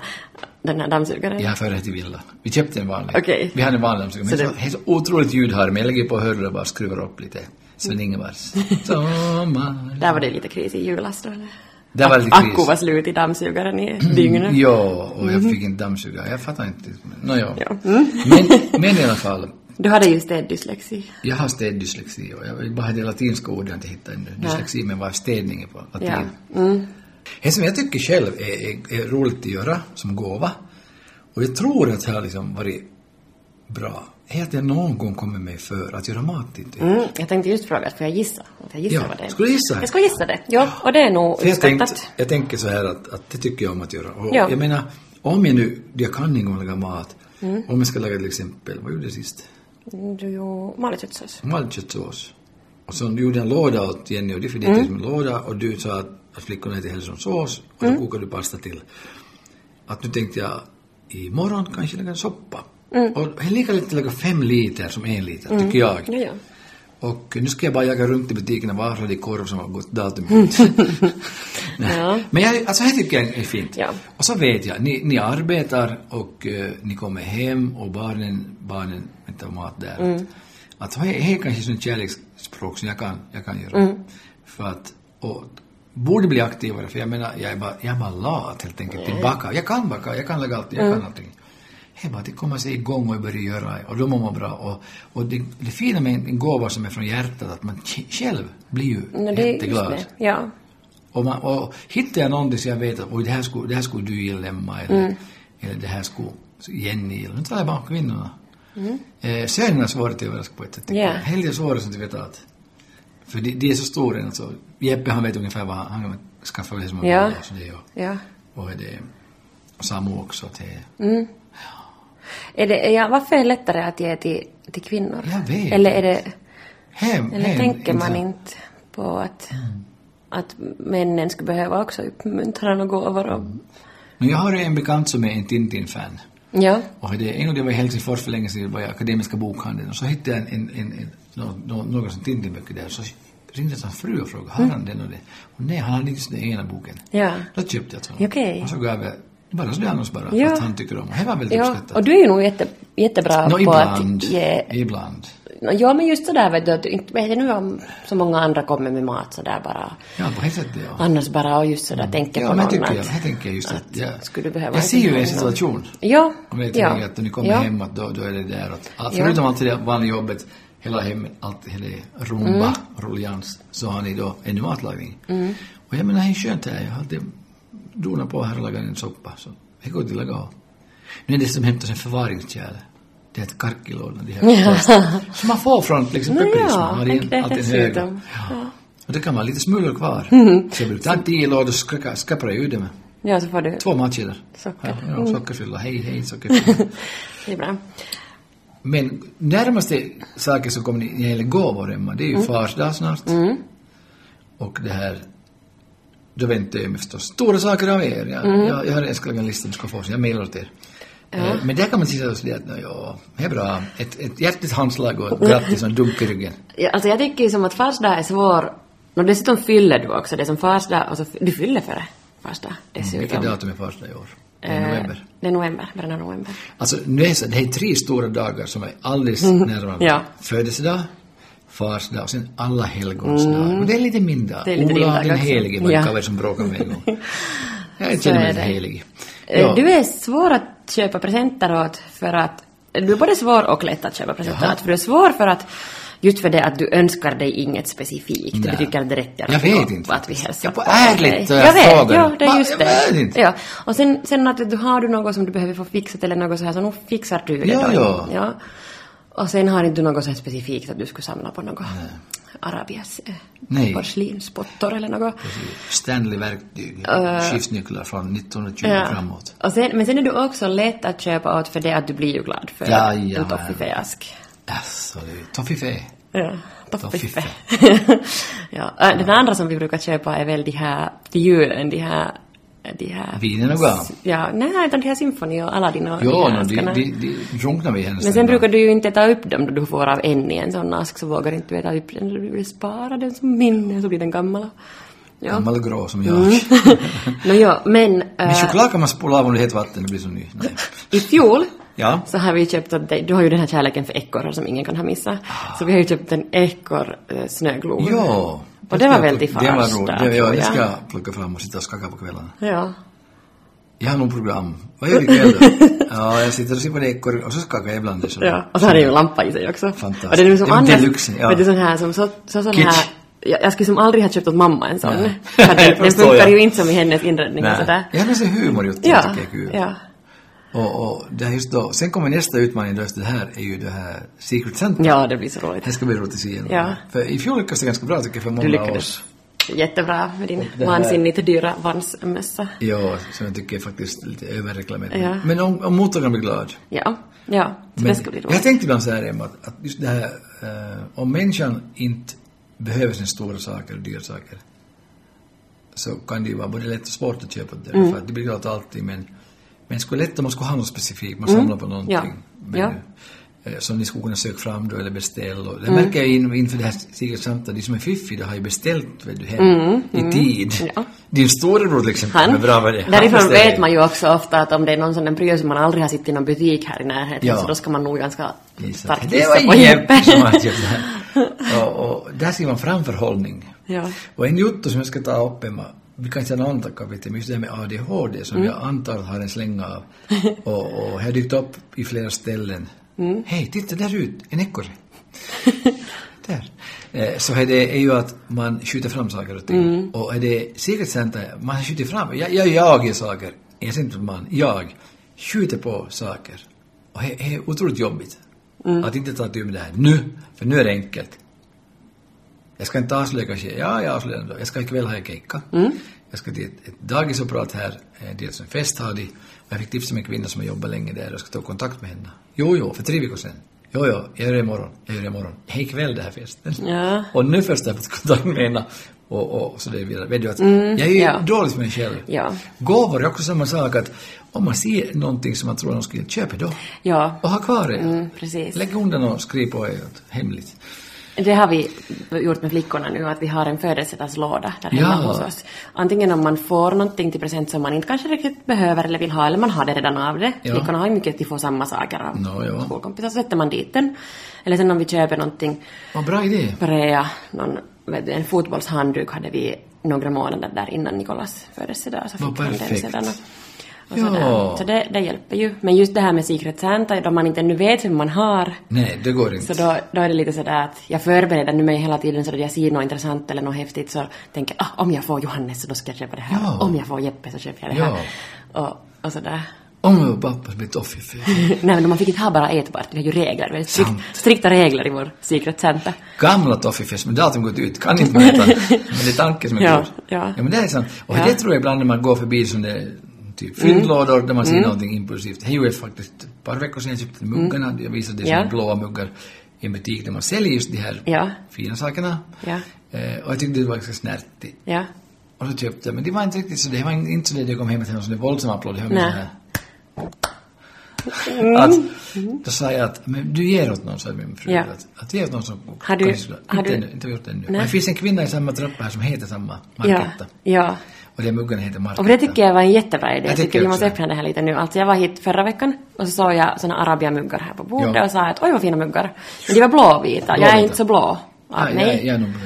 Speaker 1: den här dammsugaren.
Speaker 2: Jag har förrätt till villa. Vi köpte en vanlig.
Speaker 1: Okej.
Speaker 2: Vi hade en vanlig dammsugare. Men
Speaker 1: Så
Speaker 2: det
Speaker 1: det-
Speaker 2: är så otroligt ljudharm. Jag lägger på hörlurar och bara
Speaker 1: Mm.
Speaker 2: skruvar upp lite. Sven-Ingvars. Sommar.
Speaker 1: Där var det lite kris i julas då eller?
Speaker 2: Det var lite
Speaker 1: Akku
Speaker 2: kris. Mm,
Speaker 1: var slut i dammsugaren i dygnet.
Speaker 2: Jo, och jag fick en dammsugare. Jag fattar inte. Nå, jo.
Speaker 1: Ja.
Speaker 2: Men, men i alla fall,
Speaker 1: Du hade ju städdyslexi.
Speaker 2: jag har städdyslexi och jag bara det latinska ordet jag inte hittat ännu. Dyslexi, men vad städning är på latin.
Speaker 1: Ja. Mm.
Speaker 2: Det som jag tycker själv är, är, är roligt att göra som gåva, och jag tror att det har liksom varit bra, är att jag någon gång kommer mig för att göra mat till dig.
Speaker 1: Mm, jag tänkte just fråga, får jag gissa? Får jag gissa
Speaker 2: Ja,
Speaker 1: vad det är?
Speaker 2: ska du gissa? Ah.
Speaker 1: Jag ska gissa det. Ja, och det är nog
Speaker 2: För jag, tänkte,
Speaker 1: uppskattat.
Speaker 2: jag tänker så här att, att det tycker jag om att göra. Och
Speaker 1: Ja.
Speaker 2: Jag menar, om jag nu, jag kan inte laga mat, om jag ska laga till exempel, vad gjorde jag sist?
Speaker 1: Mm, Du gjorde malköttsås.
Speaker 2: Malköttsås. Och så gjorde jag en låda åt Jenny och Diffie, det är som en låda, och du sa att, att flickorna äter hälsonsås, och då kokade du pasta till. Att nu tänkte jag, imorgon kanske laga en soppa. Och det är lika lätt att laga fem liter som en liter, tycker jag.
Speaker 1: Ja, ja.
Speaker 2: Och nu ska jag bara jaga runt i butikerna, var har de korv som har gått datum ut? Nej.
Speaker 1: Ja.
Speaker 2: Men jag, alltså här tycker jag är fint.
Speaker 1: Ja.
Speaker 2: Och så vet jag, ni, ni arbetar och eh, ni kommer hem och barnen, barnen väntar mat där.
Speaker 1: Mm.
Speaker 2: Att det är kanske sånt kärleksspråk som jag kan, jag kan göra.
Speaker 1: Mm.
Speaker 2: För att, och borde bli aktivare, för jag menar, jag är bara, jag är bara lat helt enkelt. Jag bakar, jag kan baka, jag kan lägga allt, jag
Speaker 1: Mm.
Speaker 2: kan allting. Det är bara att det kommer sig igång och börjar göra och då mår man bra. Och, och det, det fina med en gåva som är från hjärtat, att man k- själv blir ju
Speaker 1: No, det är just
Speaker 2: jätteglad.
Speaker 1: det. Ja.
Speaker 2: Och, man, och hittar jag någonting som jag vet att oj, det, här skulle, det här skulle du gilla Emma eller,
Speaker 1: Mm.
Speaker 2: eller det här skulle Jenny gilla. Nu talar jag bara om kvinnorna. Mm. Eh, sönerna svarar till överraska på ett sätt. tycker
Speaker 1: Ja.
Speaker 2: jag. Helger svarar som inte vet allt. För det, det är så stor en alltså. Jeppe han vet ungefär vad han, han kommer skaffa det som han
Speaker 1: Ja.
Speaker 2: vill. Så det är, och,
Speaker 1: ja.
Speaker 2: och är det, och Samu också. att Det,
Speaker 1: Mm. Är det, är jag, varför är det lättare att ge till, till kvinnor?
Speaker 2: Jag vet
Speaker 1: Eller är det...
Speaker 2: hem,
Speaker 1: Eller
Speaker 2: hem,
Speaker 1: tänker man
Speaker 2: intressant.
Speaker 1: inte på att, att männen skulle behöva också uppmuntran och gåvor och...
Speaker 2: Mm. Men jag har en bekant som är en Tintin-fan.
Speaker 1: Ja.
Speaker 2: Och det, en gång det var i Helsingfors för länge sedan, det var i Akademiska bokhandeln och så hittade jag en, en, en, en, nå- nå- några som Tintinböcker där. Så ringde jag hans fru och frågade, har han den och det? Och nej, han hade inte just den ena boken.
Speaker 1: Mm. Ja.
Speaker 2: Då köpte jag den.
Speaker 1: Okej.
Speaker 2: Och så gav jag, bara sådär annars bara,
Speaker 1: Ja.
Speaker 2: att han tycker om. Det var väldigt
Speaker 1: ja.
Speaker 2: uppskattat.
Speaker 1: Och du är ju nog jätte, jättebra
Speaker 2: Nå,
Speaker 1: på
Speaker 2: ibland.
Speaker 1: att ge...
Speaker 2: Ibland.
Speaker 1: Nå, Ja, men just sådär vet du, att du inte vet jag nu om så många andra kommer med mat sådär bara.
Speaker 2: Ja, på ett sätt ja.
Speaker 1: Annars bara, och just sådär tänker
Speaker 2: Mm. Ja,
Speaker 1: på
Speaker 2: men
Speaker 1: någon
Speaker 2: jag tycker jag,
Speaker 1: att...
Speaker 2: jag tänker just att, jag,
Speaker 1: skulle du behöva
Speaker 2: jag ser ju en
Speaker 1: någon.
Speaker 2: situation.
Speaker 1: Ja.
Speaker 2: Om jag
Speaker 1: ja.
Speaker 2: tänker att när ni kommer
Speaker 1: ja.
Speaker 2: hem att då, då är det där att, att
Speaker 1: Ja.
Speaker 2: förutom allt det vanliga jobbet, hela hemmet, allt hela
Speaker 1: Mm.
Speaker 2: rumba, rullians, så har ni då ännu matlagning. Och jag menar, det är skönt det här, jag har alltid donat på här och lagat en soppa, så det går till att gå. Nu är det som hämtas en förvaringskärl. Det heter karkkilådan, de här Som man får från till exempel
Speaker 1: Nå,
Speaker 2: pris,
Speaker 1: ja,
Speaker 2: man har
Speaker 1: tänk
Speaker 2: en,
Speaker 1: det
Speaker 2: alltid en
Speaker 1: dessutom.
Speaker 2: hög. Ja. Och det kan vara lite smulor kvar. Mm. Så jag brukar ta tio lådor och skräppa ut dem.
Speaker 1: Ja, så får du.
Speaker 2: Två matkedjor.
Speaker 1: Socker. Mm.
Speaker 2: Ja, ja, sockerfylla. Hej, hej, sockerfylla.
Speaker 1: Det är bra.
Speaker 2: Men närmaste saker som kommer när det gäller gåvor, Emma, det är ju fars dag snart. Och det här, då väntar jag mig förstås stora saker av er. Jag, jag, jag har älskat en lista ni ska få, så jag mejlar åt er. Eh, Men där kan man säga sådär att, nå, ja, det är bra. Ett, ett hjärtligt handslag och ett grattis och en dunk i ryggen.
Speaker 1: Ja, alltså jag tycker ju som att fars dag är svår. Och dessutom fyller du också. Det är som fars dag och så fy- du fyller före fars dag dessutom.
Speaker 2: Mm, Vilket datum är fars dag i år? Det är
Speaker 1: Eh,
Speaker 2: november.
Speaker 1: Det är november, början av november.
Speaker 2: Alltså, nu är det, så, det är tre stora dagar som är alldeles närmare.
Speaker 1: Mhm. Ja.
Speaker 2: Födelsedag, fars dag och sen alla helgons dag. Och det är lite min dag.
Speaker 1: Mm. Det är lite din
Speaker 2: Ola
Speaker 1: dag
Speaker 2: den
Speaker 1: också.
Speaker 2: helige var det
Speaker 1: Ja.
Speaker 2: Kalle som bråkade med en gång. Jag
Speaker 1: Så
Speaker 2: känner mig
Speaker 1: är
Speaker 2: lite
Speaker 1: det.
Speaker 2: helig.
Speaker 1: Eh, Du är svår att köpa presenter åt för att du är både svår och lätt att köpa presenter
Speaker 2: Jaha.
Speaker 1: åt. För du är svår för att just för det att du önskar dig inget specifikt.
Speaker 2: Nej.
Speaker 1: Du tycker att det räcker
Speaker 2: Jag vet inte
Speaker 1: att vi
Speaker 2: faktiskt.
Speaker 1: hälsar
Speaker 2: Jag på
Speaker 1: dig.
Speaker 2: ärligt, eh,
Speaker 1: Jag vet,
Speaker 2: frågar.
Speaker 1: ja, det är
Speaker 2: Va,
Speaker 1: just
Speaker 2: jag vet
Speaker 1: det.
Speaker 2: inte.
Speaker 1: Ja. Och sen, sen att du har du något som du behöver få fixat eller något så här så nog fixar du det
Speaker 2: Ja,
Speaker 1: då.
Speaker 2: ja.
Speaker 1: ja. Och sen har inte du något så här specifikt att du skulle samla på något. Arabias eh,
Speaker 2: Nej.
Speaker 1: porslinspottor eller något.
Speaker 2: Stanley-verktyg,
Speaker 1: Eh.
Speaker 2: skiftnycklar från 1920 framåt.
Speaker 1: Och sen, men sen är du också lätt att köpa åt för det att du blir ju glad för
Speaker 2: Ja,
Speaker 1: en
Speaker 2: ja.
Speaker 1: toffifeask.
Speaker 2: Alltså, det är ju Toffifee.
Speaker 1: Ja,
Speaker 2: Toffiffe.
Speaker 1: Toffiffe. ja, äh, den andra som vi brukar köpa är väl de här, till julen, de här... De här
Speaker 2: Vinen och gam.
Speaker 1: Ja, nej, utan de här Symfoni och Aladdin och
Speaker 2: Ja,
Speaker 1: de här
Speaker 2: no, de,
Speaker 1: askarna.
Speaker 2: de, de drunknar vi i hennes
Speaker 1: Men sen
Speaker 2: tänder.
Speaker 1: brukar du ju inte ta upp dem då du får av en i en sån ask så vågar inte du ta upp den, du vill spara den som minne så blir den gammal. Ja.
Speaker 2: Gammal grå som
Speaker 1: Mm.
Speaker 2: jag.
Speaker 1: Nå ja, men... äh,
Speaker 2: Men choklad kan man spola av om det är hett vatten, det blir så ny. Nej.
Speaker 1: I fjol
Speaker 2: Ja.
Speaker 1: så har vi ju köpt åt dig, du har ju den här kärleken för ekorrar som ingen kan ha missat. Så vi har ju köpt en ekorr eh, snöglob.
Speaker 2: Ja.
Speaker 1: Och det var väl till
Speaker 2: Det var
Speaker 1: fars
Speaker 2: roligt.
Speaker 1: där,
Speaker 2: Det, ja,
Speaker 1: tror
Speaker 2: det
Speaker 1: jag.
Speaker 2: ska jag plocka fram och sitta och skaka på kvällarna.
Speaker 1: Ja.
Speaker 2: Jag har nog program. Vad gör du ikväll då? Ja, jag sitter och ser på det i korridoren och så skakar jag ibland. Det är så.
Speaker 1: Ja, och så hade jag ju en lampa i sig också.
Speaker 2: Fantastiskt.
Speaker 1: Och det är liksom
Speaker 2: Ja, men det är
Speaker 1: annars-
Speaker 2: lyxen, ja.
Speaker 1: Men det är sån här som så, så sån
Speaker 2: Kitsch.
Speaker 1: här... Jag, jag skulle som aldrig ha köpt åt mamma en sån.
Speaker 2: Nej.
Speaker 1: För att den, den
Speaker 2: Förstår
Speaker 1: funkar
Speaker 2: jag.
Speaker 1: ju inte som i hennes inredning och sådär.
Speaker 2: Jag har nästan humor gjort det,
Speaker 1: Ja,
Speaker 2: tycker jag är kul.
Speaker 1: ja.
Speaker 2: Och, och det är just då. Sen kommer nästa utmaning då, just det här är ju det här Secret Center.
Speaker 1: Ja, det blir så roligt.
Speaker 2: Det ska bli roligt att se igenom.
Speaker 1: Ja.
Speaker 2: För i fjol lyckades det ganska bra tycker jag för många
Speaker 1: Du
Speaker 2: av
Speaker 1: lyckades.
Speaker 2: oss.
Speaker 1: Jättebra med din
Speaker 2: det här-
Speaker 1: vansinnigt dyra vansmössa.
Speaker 2: Ja, som jag tycker är faktiskt lite överreklamerat.
Speaker 1: Ja.
Speaker 2: Men om, om mottagaren blir glad.
Speaker 1: Ja, ja. Så det
Speaker 2: Men
Speaker 1: ska bli
Speaker 2: jag
Speaker 1: roligt.
Speaker 2: tänkte ibland så här Emma, att, att just det här, eh, om människan inte behöver sina stora saker och dyra saker, så kan det ju vara både lätt och svårt att köpa det,
Speaker 1: Mm.
Speaker 2: för att det blir glad allting, men, men det skulle vara lätt om man skulle ha något specifikt, man samlar på någonting.
Speaker 1: Mm. Ja.
Speaker 2: Men,
Speaker 1: Ja.
Speaker 2: eh, som ni skulle kunna söka fram då eller beställa. Och Det
Speaker 1: Mm.
Speaker 2: märker jag in, inför det här Sigrid samtalet, de som är fiffiga har ju beställt vet du, hem i tid.
Speaker 1: Mm. Ja.
Speaker 2: Din storebror till exempel,
Speaker 1: Han,
Speaker 2: är bra med det. Han
Speaker 1: därifrån
Speaker 2: beställer.
Speaker 1: vet man ju också ofta att om det är någon sån där pryl som man aldrig har sett i någon butik här i närheten
Speaker 2: Ja.
Speaker 1: så då ska man nog ganska
Speaker 2: Gissa.
Speaker 1: starkt
Speaker 2: Det
Speaker 1: gissa
Speaker 2: var
Speaker 1: på
Speaker 2: Jeppe som
Speaker 1: Jeppe.
Speaker 2: hade köpt det här. Och, och där ser man framförhållning.
Speaker 1: Ja.
Speaker 2: Och en juttu som jag ska ta upp, Emma, vi kanske har något annat kapitel, men just det här med ADHD som jag antar har en slänga av. Och, och har dykt upp i flera ställen. Hej, titta där ut, en ekorre. där. Eh, Så här det är ju att man skjuter fram saker och ting. Och är det Secret Center, man skjuter fram, jag, jag jagar saker, jag ser inte man, jag skjuter på saker. Och det det är otroligt jobbigt. Att inte ta itu med det här nu, för nu är det enkelt. Jag ska inte avslöja kanske, ja jag avslöjar ändå. Jag ska ikväll ha en keikka.
Speaker 1: Mm.
Speaker 2: Jag ska till ett, ett dagis och prata här, eh, dels en fest har de. Och jag fick tips om en kvinna som har jobbat länge där och jag ska ta kontakt med henne. Jo, jo, för tre veckor sedan. Jo, jo, jag gör det imorgon, jag gör det imorgon. Hej ikväll det här festen.
Speaker 1: Ja.
Speaker 2: Och nu först har jag fått kontakt med henne. Och, och så det är vidare. Vet du att jag är
Speaker 1: Mm,
Speaker 2: ju
Speaker 1: ja.
Speaker 2: dålig för mig själv.
Speaker 1: Ja.
Speaker 2: Gåvor är också samma sak att om man ser någonting som man tror någon skulle köpa då
Speaker 1: Ja,
Speaker 2: och ha kvar det.
Speaker 1: mm, precis.
Speaker 2: Lägg undan och skriv på det hemligt.
Speaker 1: Det har vi gjort med flickorna nu, att vi har en födelsedagslåda där
Speaker 2: Ja.
Speaker 1: hemma hos oss. Antingen om man får någonting till present som man inte kanske riktigt behöver eller vill ha, eller man har det redan av det.
Speaker 2: Ja.
Speaker 1: Flickorna har ju mycket att de får samma saker av
Speaker 2: Nå, ja.
Speaker 1: skolkompisar, så sätter man dit den. Eller sen om vi köper någonting,
Speaker 2: Vad bra idé.
Speaker 1: Korea, någon, vet du, en fotbollshandduk hade vi några månader där innan Nikolas födelsedag, så
Speaker 2: Vad
Speaker 1: fick han den
Speaker 2: perfekt.
Speaker 1: sedan. Och, och
Speaker 2: Ja.
Speaker 1: sådär. Så det, det hjälper ju. Men just det här med Secret Santa, då man inte ännu vet hur man har,
Speaker 2: Nej, det går inte.
Speaker 1: så då, då är det lite sådär att jag förbereder nu mig hela tiden så att jag ser något intressant eller något häftigt så tänker jag ah, om jag får Johannes så då ska jag köpa det här.
Speaker 2: Ja.
Speaker 1: Om jag får Jeppe så köper jag det här. Och, och sådär.
Speaker 2: Om jag var pappa som ett offer för
Speaker 1: Nej men man fick inte ha bara ätbart, vi har ju regler. Vi har strikt,
Speaker 2: Sant.
Speaker 1: strikta regler i vår Secret Santa.
Speaker 2: gamla toffifest, men datum gått ut, kan inte man äta. Men det är tanken som är
Speaker 1: Ja,
Speaker 2: god.
Speaker 1: ja.
Speaker 2: men det är sant. Och
Speaker 1: Ja. Mm.
Speaker 2: det tror jag ibland när man går förbi som det är typ fyndlådor där man ser någonting impulsivt. Det gjorde jag faktiskt ett par veckor sedan, jag köpte muggarna, jag visade det som
Speaker 1: Mm. Ja.
Speaker 2: blåa muggar i en butik där man säljer just de här
Speaker 1: Ja.
Speaker 2: fina sakerna.
Speaker 1: Ja.
Speaker 2: Eh, och jag tyckte det var ganska snärtigt.
Speaker 1: Ja.
Speaker 2: Och så köpte jag, men det var inte riktigt så, det var inte så det jag kom hem till någon sån där våldsam applåd, det var mer
Speaker 1: Nej.
Speaker 2: sån här Mm. att, då sa jag att men du ger åt någon, sa min fru.
Speaker 1: Ja.
Speaker 2: Att, att ge åt någon som...
Speaker 1: Har du-
Speaker 2: kanske-
Speaker 1: har
Speaker 2: inte,
Speaker 1: du-
Speaker 2: ännu, inte gjort det ännu.
Speaker 1: Nej.
Speaker 2: Men det finns en kvinna i samma trappa här som heter samma,
Speaker 1: Ja.
Speaker 2: Marketta.
Speaker 1: ja.
Speaker 2: Och den muggen heter Marketta.
Speaker 1: Och det tycker jag var en jättebra idé.
Speaker 2: Jag
Speaker 1: Jag
Speaker 2: tycker
Speaker 1: tycker vi måste
Speaker 2: också det.
Speaker 1: öppna det här lite nu. Alltså jag var hit förra veckan och så såg jag såna arabiamuggar här på bordet
Speaker 2: Ja.
Speaker 1: och sa att oj vad fina muggar. Men de var blåvita. Jag
Speaker 2: Blåvita.
Speaker 1: är inte så blå av
Speaker 2: Nej,
Speaker 1: mig.
Speaker 2: jag, jag är nog bra.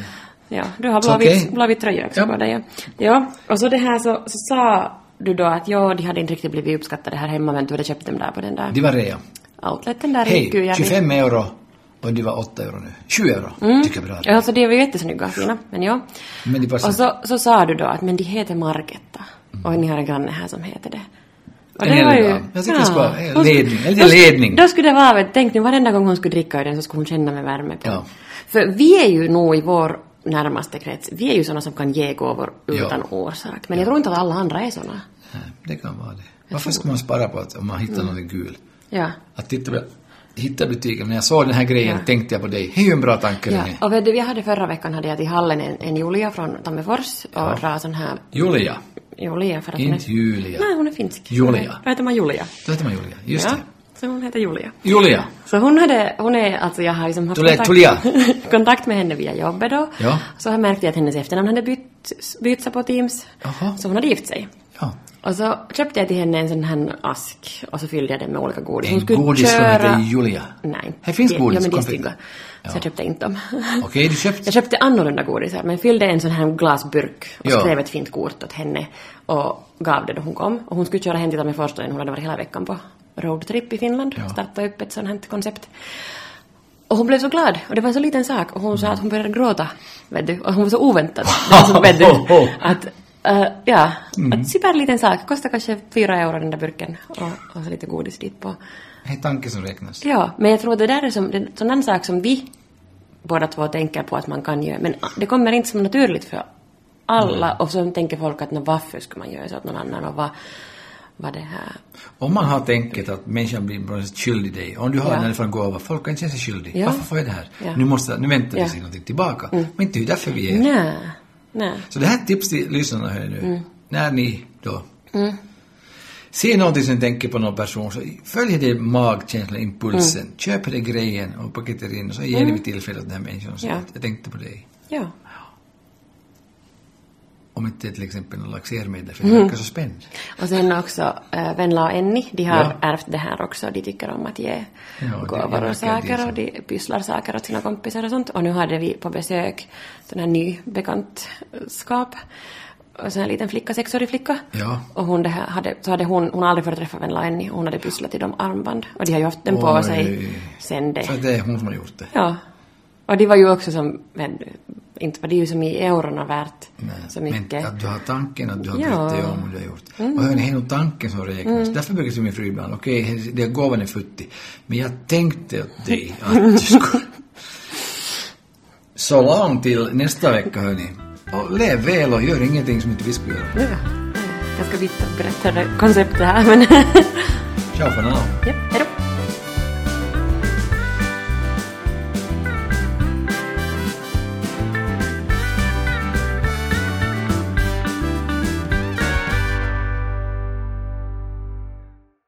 Speaker 1: Ja, du har
Speaker 2: Så
Speaker 1: blåvit,
Speaker 2: okej.
Speaker 1: blåvit tröja också
Speaker 2: Ja.
Speaker 1: på dig. Ja. ja, och så det här så, så sa du då att ja, de hade inte riktigt blivit uppskattade här hemma men du hade köpt dem där på den där
Speaker 2: Det var rea.
Speaker 1: outleten där i
Speaker 2: Hej,
Speaker 1: Kujärvi.
Speaker 2: 25 euro. Och det var 8 euro nu. 20 euro. Tycker jag är
Speaker 1: Ja,
Speaker 2: bra.
Speaker 1: alltså de var ju jättesnygga och fina, men ja.
Speaker 2: Men det passar.
Speaker 1: Och så, så sa du då att men de heter Margetta och ni har en granne här som heter det. Och
Speaker 2: En äldre dam. Mm. Jag tycker det ska vara, eh,
Speaker 1: Hon-
Speaker 2: ledning, en liten
Speaker 1: då-
Speaker 2: ledning.
Speaker 1: Då skulle det vara, väl- tänk nu varenda gång hon skulle dricka ur den så skulle hon känna med värme på.
Speaker 2: Ja.
Speaker 1: För vi är ju nog i vår närmaste krets, vi är ju sådana som kan ge gåvor utan orsak. Men jag tror inte att alla andra är sådana.
Speaker 2: Nej, det kan vara det. Varför ska man spara på att om man
Speaker 1: Mm.
Speaker 2: hittar någonting kul?
Speaker 1: Ja.
Speaker 2: Att titta på hitta butiken, när jag såg den här grejen tänkte jag på dig. Det är ju en bra tanke,
Speaker 1: Ja,
Speaker 2: Renée.
Speaker 1: och vet du, vi hade förra veckan hade jag till hallen en, en Julia från Tammerfors och drar sån här
Speaker 2: Julia.
Speaker 1: Julia för att hon är...
Speaker 2: Inte Julia.
Speaker 1: Nej, hon är finsk.
Speaker 2: Julia.
Speaker 1: Då heter man Julia.
Speaker 2: Då heter man Julia. Just
Speaker 1: Ja,
Speaker 2: det.
Speaker 1: så hon heter Julia.
Speaker 2: Julia.
Speaker 1: Så hon hade, hon är, alltså jag har liksom haft
Speaker 2: Tule- Tulia.
Speaker 1: kontakt med henne via jobbet då.
Speaker 2: Ja.
Speaker 1: Så har jag märkt att hennes efternamn hade bytt, bytt sig på Teams.
Speaker 2: Jaha.
Speaker 1: Så hon hade gift sig.
Speaker 2: Ja.
Speaker 1: Och så köpte jag till henne en sån här ask och så fyllde jag den med olika godis. Hon skulle
Speaker 2: Godis som heter
Speaker 1: köra...
Speaker 2: Julia.
Speaker 1: Nej.
Speaker 2: Här finns
Speaker 1: det-
Speaker 2: godis.
Speaker 1: Ja, men det är
Speaker 2: konfekt.
Speaker 1: stygga. Så jag köpte inte dem.
Speaker 2: Okej, du köpte.
Speaker 1: Jag köpte annorlunda godisar men fyllde en sån här glasburk och
Speaker 2: Ja.
Speaker 1: skrev ett fint kort åt henne och gav det då hon kom. Och hon skulle köra hem till Tammerfors första hon hade varit hela veckan på roadtrip i Finland
Speaker 2: Ja.
Speaker 1: och startade upp ett sånt här koncept. Och hon blev så glad och det var en så liten sak och hon sa att hon började gråta. Vet du? Och hon var så oväntad. Det var så, vet du, att eh, ja,
Speaker 2: Mm.
Speaker 1: att superliten sak. Kostar kanske fyra euro den där burken och, och så lite godis dit på.
Speaker 2: Det är tanken som räknas.
Speaker 1: Ja, men jag tror det där är som, det är en sån där sak som vi båda två tänker på att man kan göra, men det kommer inte som naturligt för alla och så tänker folk att "Nå, varför skulle man göra så åt någon annan och vad, vad det här...
Speaker 2: Om man har tänket att människan blir på något sätt skyldig dig, om du har
Speaker 1: Ja.
Speaker 2: den här från gåva, folk kan känna sig skyldig.
Speaker 1: Ja.
Speaker 2: Varför får jag det här?
Speaker 1: Ja.
Speaker 2: Nu, måste, nu väntar
Speaker 1: Ja.
Speaker 2: det
Speaker 1: Mm.
Speaker 2: sig någonting tillbaka. Men inte det är därför vi är
Speaker 1: Nej, nej.
Speaker 2: Så det här är ett tips till lyssnarna här nu. När ni då ser någonting som ni tänker på någon person så följ det magkänslan, impulsen. Köp den grejen och paketerar in och så ger ni vid tillfälle åt den här människan. Så
Speaker 1: Ja.
Speaker 2: att Jag tänkte på dig.
Speaker 1: Ja.
Speaker 2: Om inte till exempel någon laxermedel för det verkar så spänd.
Speaker 1: Och sen också äh, Venla och Enni, de har
Speaker 2: Ja.
Speaker 1: ärvt det här också. De tycker om att ge
Speaker 2: Ja, det- det
Speaker 1: gåvor
Speaker 2: verkar
Speaker 1: och
Speaker 2: det
Speaker 1: saker
Speaker 2: som.
Speaker 1: och de pysslar saker åt sina kompisar och sånt. Och nu hade vi på besök sån här ny bekantskap. Och så en liten flicka, sexårig flicka.
Speaker 2: Ja.
Speaker 1: Och hon det här hade, så hade hon, hon har aldrig fått träffa Venla och Enni, hon hade pysslat i dem armband. Och de har ju haft den på
Speaker 2: Oj.
Speaker 1: sig sen det.
Speaker 2: Så det är hon som har gjort det.
Speaker 1: Ja. Och det var ju också som, men, inte var det ju som i eurona värt så mycket.
Speaker 2: Men att du har tanken att du har
Speaker 1: Ja. Mm.
Speaker 2: brytt dig om vad du har gjort. Och hörni, det är nog tanken som räknas. Därför brukar jag säga min fru ibland, okej, det gåvan är futtig. Men jag tänkte åt dig att du skulle... Så långt till nästa vecka hörni. Och lev väl och gör ingenting som inte vi skulle göra.
Speaker 1: Ja. Ganska vitt och brett koncept det här men...
Speaker 2: Ciao för nu.
Speaker 1: Japp, hejdå!